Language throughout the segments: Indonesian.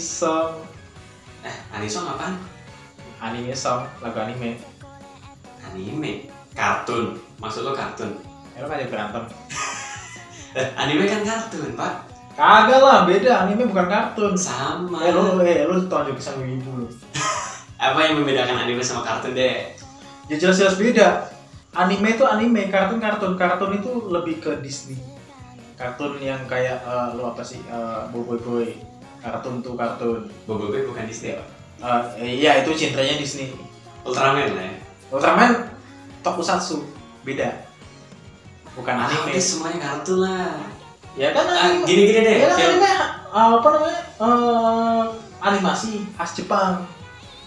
song Eh, anisong apaan? anime song lagu anime Anime. Kartun. Maksud lo kartun? ya lo kan jadi berantem Eh, anime kan kartun, Pak. kagak lah beda anime bukan kartun Sama. eh lu eh lu tolong juga sama ibu lu Apa yang membedakan anime sama kartun deh? ya jelas jelas beda anime itu anime kartun kartun kartun itu lebih ke Disney kartun yang kayak eh, lu apa sih eh, boy boy boy kartun tuh kartun Bobo Boy bukan Disney, Pak. Eh, iya itu cintranya Disney Ultraman lah ya. Ultraman tokusatsu beda bukan anime Habis semuanya kartun lah. ya kan Ah, anime gini-gini deh. ya kan film. anime eh, apa namanya eh, animasi khas Jepang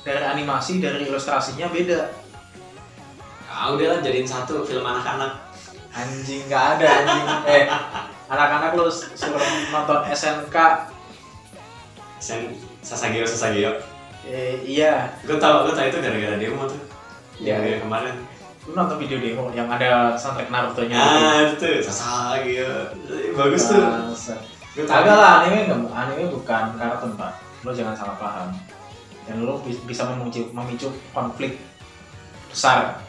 dari animasi dari ilustrasinya beda Ah, udahlah jadiin satu film anak-anak. anjing nggak ada anjing eh anak-anak lu suruh nonton SNK Sen Sasageo Sasageo. eh, iya Gue tau, gue tau itu gara-gara demo tuh. Iya. Yang kemarin. lu nonton video demo yang ada soundtrack Naruto nya Ah, itu tuh. Sasageo. Bagus tuh. Gua Kagak tau. Iya. lah anime nggak anime bukan kartun pak lo jangan salah paham dan lo bis- bisa memicu, memicu konflik besar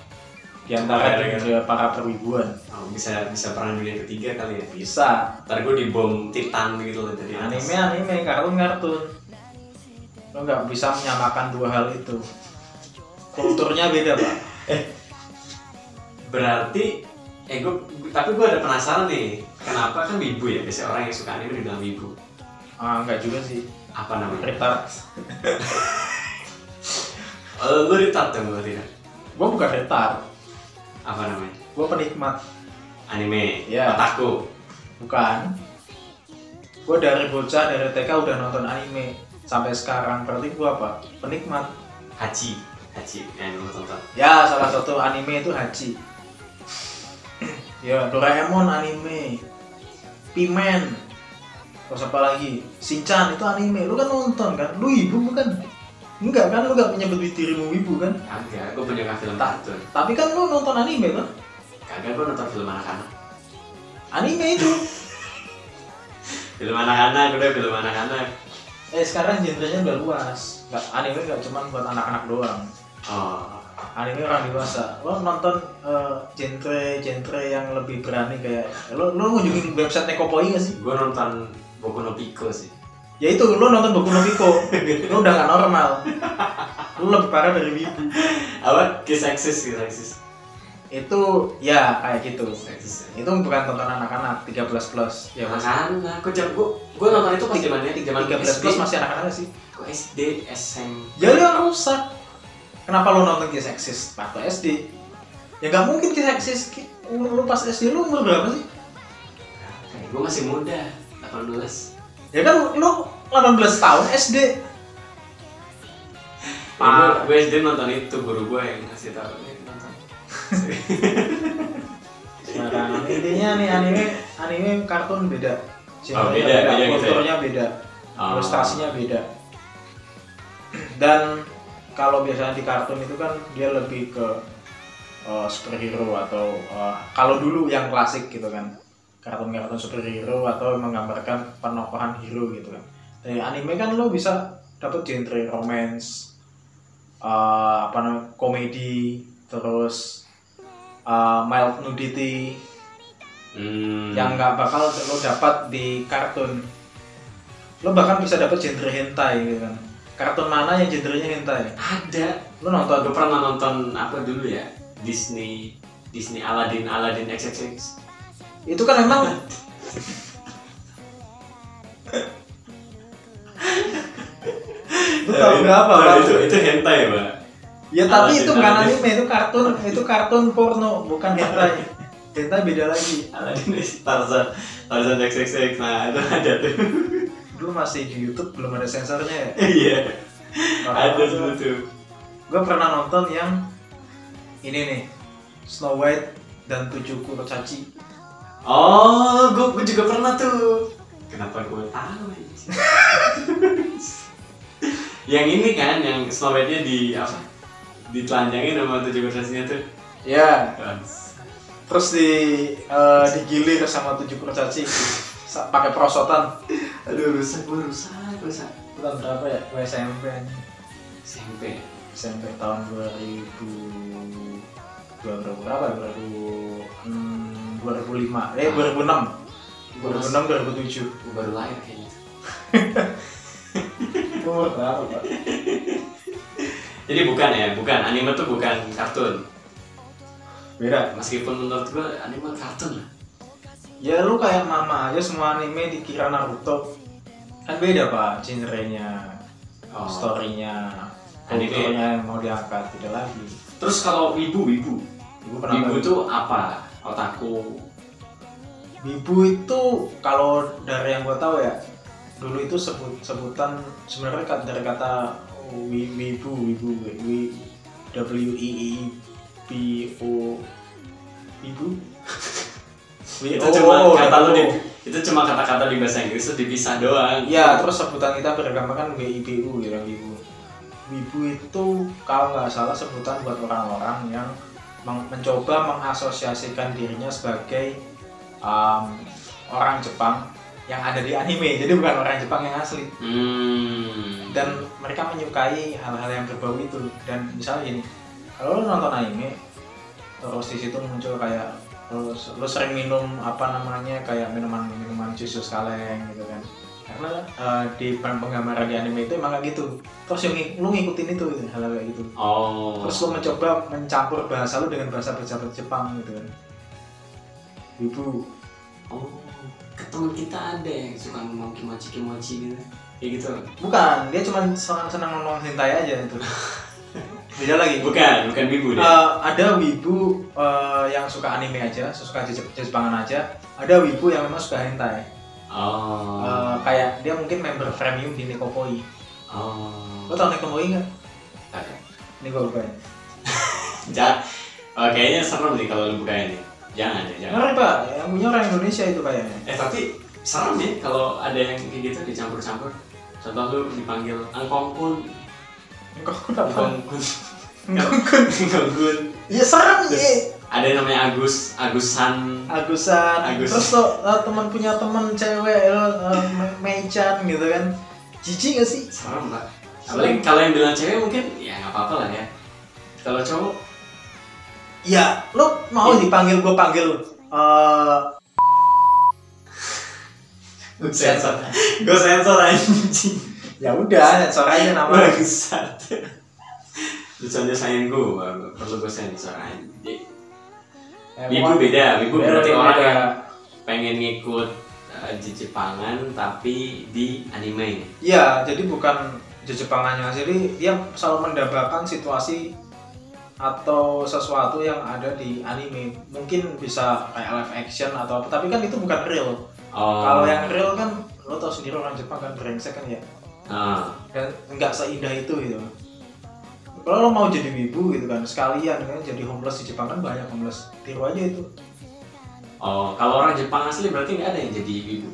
di antara Gara-gara. diri para perwibuan Oh, bisa bisa perang dunia ketiga kali ya bisa ntar gue dibom titan gitu loh dari atas. anime anime kartun kartun lo nggak bisa menyamakan dua hal itu kulturnya beda pak berarti eh gue tapi gue ada penasaran nih kenapa kan wibu ya biasanya orang yang suka anime dibilang wibu ah nggak juga sih apa namanya retard oh, lu retard dong gue tidak gue bukan retard apa namanya gue penikmat anime Iya. otaku bukan gue dari bocah dari TK udah nonton anime sampai sekarang berarti gue apa penikmat haji haji yang lu tonton Ya, salah satu anime itu Haji. ya, Doraemon anime. Pimen. Terus apa lagi? Shinchan itu anime. Lu kan nonton kan? Lu ibu bukan? Enggak kan? Lu gak menyebut dirimu ibu kan? kagak gue penyuka film Tak. kartun Tapi kan lu nonton anime kan? kagak gue nonton film anak-anak Anime itu. film anak-anak udah film anak-anak eh, sekarang genrenya udah luas. Nggak, anime gak cuma buat anak-anak doang. oh Anime orang dewasa. Lo nonton eh, genre-genre yang lebih berani kayak... Lo, lo ngunjungin website Nekopoi gak sih? gue nonton Boku no Pico sih ya itu lu nonton Boku no Pico lu udah gak normal lu lebih parah dari wibu apa kiss eksis kiss eksis itu ya kayak gitu Kiss Exis, ya. itu bukan tontonan anak-anak 13 plus ya Ya masih anak aku jam gua gua nonton itu pas zamannya zaman 13 SD. plus masih anak-anak sih Gua SD SMP. ya lu yang rusak kenapa lu nonton Kiss Exist waktu SD ya gak mungkin Kiss Exist Ki- umur lu pas SD lu umur berapa sih Gua masih muda, 18. ya kan lu 18 tahun SD Ya, Gua Ah. gua SD nonton itu guru gua yang ngasih tahu "Nih, nonton." Nah, intinya nih anime anime kartun beda Oh, beda, Genrenya beda gitu ya? kulturnya beda Oh. ilustrasinya beda dan kalau biasanya di kartun itu kan dia lebih ke eh, superhero atau eh, kalau dulu yang klasik gitu kan kartun-kartun superhero atau menggambarkan penokohan hero gitu kan dari anime kan lo bisa dapat genre romance eh, apa namanya komedi terus eh, mild nudity Hmm. yang nggak bakal lo dapat di kartun lo bahkan bisa dapat genre hentai gitu kan kartun mana yang genrenya hentai ada. lo nonton Gua pernah nonton apa dulu ya? Disney Disney Aladdin Aladdin XXX. itu kan emang Lu tahu berapa, Nah, Bang? Itu Nah, itu hentai, Pak. ya tapi Aladdin, itu bukan Aladdin. anime itu kartun itu kartun porno bukan hentai hentai beda lagi Aladdin Tarzan Tarzan XXX. Nah, itu ada tuh. dulu masih di YouTube belum ada sensornya ya Iya, ada dulu tuh. gue pernah nonton yang ini nih Snow White dan tujuh kurcaci Oh, gue juga pernah tuh. Kenapa gue tahu? anjing? yang ini kan, yang slowetnya di apa? Ditelanjangin sama tujuh kursinya tuh. ya Bans. terus di eh, digilir sama tujuh kurcaci sa- pakai perosotan Aduh, rusak, gue rusak, rusak. Gue tahun berapa ya? Gue SMP aja. SMP SMP tahun 2000 2000 berapa? 2000 hmm, 2005. Eh 2006. Gua masih- 2006 2007. gua baru lahir kayaknya Umur berapa, Pak? jadi bukan ya bukan anime tuh bukan kartun Beda. meskipun menurut gua anime kartun lah Ya lu kayak mama aja semua anime dikira Naruto. Kan beda, Pak, genre-nya, Oh. story-nya, Anime. kulturnya yang mau diangkat tidak lagi. terus kalau wibu wibu Ibu pernah wibu tuh apa otaku Bibu itu kalau dari yang gue tahu ya dulu itu sebut sebutan sebenarnya kat- dari kata wi- wibu wibu wi w i i p o wibu Oh, W- itu O- cuma O- kata lu O. di, itu cuma kata-kata di bahasa Inggris tuh dipisah doang ya terus sebutan kita beragama kan w i b u ya wibu wibu itu kalau nggak salah sebutan buat orang-orang yang meng- mencoba mengasosiasikan dirinya sebagai um, orang Jepang yang ada di anime jadi bukan orang Jepang yang asli hmm. dan mereka menyukai hal-hal yang berbau itu dan misalnya gini kalau lo nonton anime terus di situ muncul kayak lo, lo sering minum apa namanya kayak minuman minuman jus jus kaleng gitu kan karena eh, di peng- penggambaran di anime itu emang kayak gitu terus yang ngi- lo ngikutin itu gitu, hal-hal kayak gitu oh terus lo mencoba mencampur bahasa lo dengan bahasa bahasa Jepang gitu kan ibu oh ke teman kita ada yang suka ngomong kimochi kimochi gitu kayak gitu bukan dia cuma senang senang nonton hentai aja itu beda lagi bukan bukan wibu deh Eh, ada wibu eh, yang suka anime aja, suka Jep- Jepangan aja. Ada wibu yang memang suka hentai. oh Eh, kayak dia mungkin member premium di Nekopoi. oh Lo tau Nekopoi nggak? Oke. Ini gue lupa. Ja- oh, kayaknya serem nih kalau lu bukain nih jangan ya jangan Ngeri pak, yang punya orang Indonesia itu kayaknya. eh tapi serem ya kalau ada yang kayak gitu dicampur-campur contoh lu dipanggil angkongkun Kok kenapa? angkongkun Ngongkon. angkongkun Iya serem Terus- ya. ada yang namanya Agus Agusan Agusan. Agus. Terus lo lo teman punya teman cewek lo eh, Me- Mei-chan gitu kan. Jijik gak sih? serem mbak apalagi kalau yang bilang cewek mungkin ya nggak apa-apa lah ya kalau cowok Iya, lo mau dipanggil gue panggil eh, sensor gue sensor anjing ya udah sensor aja Iya. nama bangsat lucunya sayang gue perlu gue sensor anjing Ya, ibu pokoknya- beda ibu berarti Beda, orang beda. yang pengen ngikut uh, Jepangan tapi di anime Iya, jadi bukan Jepangannya jadi dia selalu mendapatkan situasi atau sesuatu yang ada di anime mungkin bisa kayak live action atau apa tapi kan itu bukan real oh. kalau yang real kan lo tau sendiri orang Jepang kan brengsek kan ya Ah, dan nggak seindah itu gitu kalau lo mau jadi wibu gitu kan sekalian kan jadi homeless di Jepang kan banyak homeless tiru aja itu oh kalau orang Jepang asli berarti nggak ada yang jadi ibu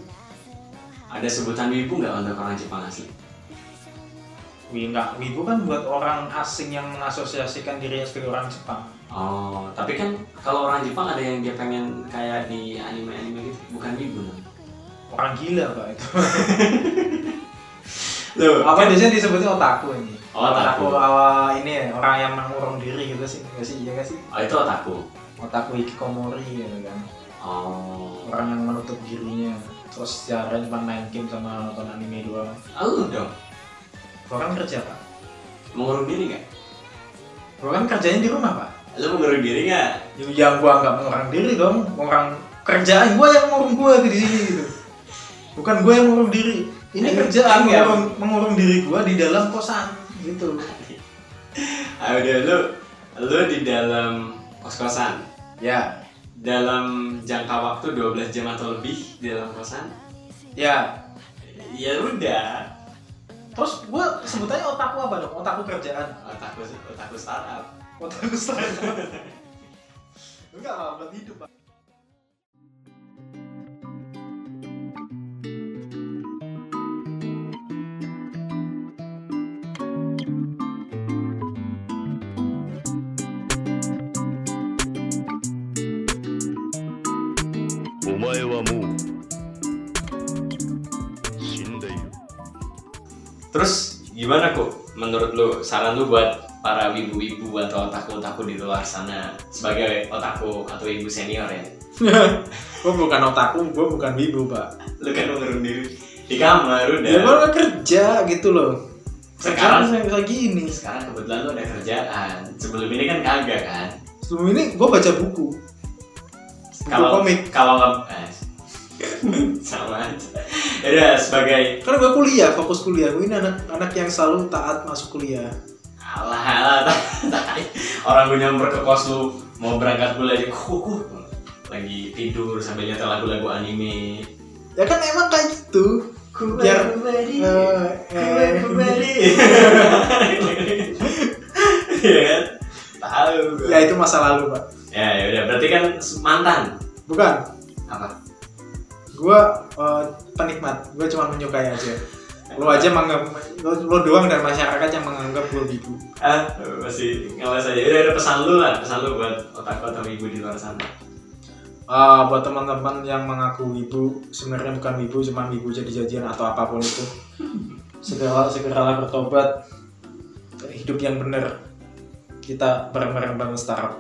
ada sebutan ibu nggak untuk orang Jepang asli Wi nggak wibu kan buat orang asing yang mengasosiasikan dirinya sebagai orang Jepang Oh, tapi kan kalau orang Jepang ada yang dia pengen kayak di anime-anime gitu, bukan wibu namanya. orang gila pak itu Loh, apa biasanya disebutnya otaku ini Oh, otaku. awal ini ya, orang yang mengurung diri gitu sih nggak sih iya nggak sih Oh, itu otaku. otaku ikikomori gitu kan Oh, orang yang menutup dirinya terus jarang cuma main game sama nonton anime doang Ah, lu dong. gua kan kerja pak Mengurung diri nggak? gua kan kerjanya di rumah pak Lu mengurung diri nggak? Ya, yang gua nggak mengurang diri dong orang kerjaan gua yang mengurung gua di sini gitu bukan gua yang mengurung diri ini Eh, kerjaan enggak. mengurung, mengurung diri gua di dalam kosan gitu Ah, udah lu lu di dalam kos-kosan ya dalam jangka waktu 12 jam atau lebih di dalam kosan. ya Ya udah, Terus gue sebutannya otakku apa dong? Otakku kerjaan. otaku otaku startup. Otakku startup. Enggak lah, buat hidup. Pak. 「お前はもう死んでいる」 Terus gimana kok menurut lu saran lu buat para wibu-wibu atau otaku-otaku di luar sana sebagai otaku atau ibu senior ya? gue bukan otaku, gue bukan wibu pak. Lu kan ngurung diri di kamar udah. Ya baru kerja gitu loh. Iya. Sekarang- Sekarang kayak gini. Sekarang kebetulan lu ada kerjaan. Sebelum ini kan kagak kan? Sebelum ini gue baca buku. Buku Kalau komik. kalau nggak eh, sama aja. Yaudah sebagai Karena gue kuliah, fokus kuliah. Gue ini anak anak yang selalu taat masuk kuliah. alah alah tai. orang gue nyamper ke kos lu mau berangkat kuliah aja kuh, kuh. lagi tidur sambil nyetel lagu-lagu anime Ya kan emang kayak gitu. Ku Biar- kembali, Eh, eh. Iya kan? Tahu gue. ya itu masa lalu pak. Ya, ya udah berarti kan mantan. Bukan. Apa? Gue eh, penikmat. Gue cuma menyukai aja. Lo aja menganggap lo, lo doang dan masyarakat yang menganggap gue wibu. Ah, masih ngawas aja. Udah ada pesan lu lah, pesan lu buat otak atau ibu di luar sana. Ah, buat teman-teman yang mengaku wibu, sebenarnya bukan wibu, cuma wibu jadi-jadian atau apapun itu. Segera segeralah bertobat. Hidup yang benar. Kita bareng-bareng bangun startup.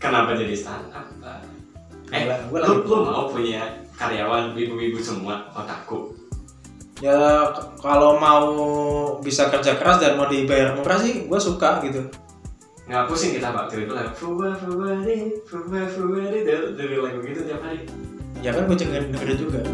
Kenapa jadi startup? Eh, Gua- gua lu, lagi- lu mau punya karyawan ibu-ibu semua otakku? Ya k- kalau mau bisa kerja keras dan mau dibayar murah sih, gue suka gitu. Nggak pusing kita pak, tiba-tiba lagu Fuwa fuwa di, fuwa fuwa di Dari dari lagu gitu tiap hari Ya kan gue dengerin denger juga.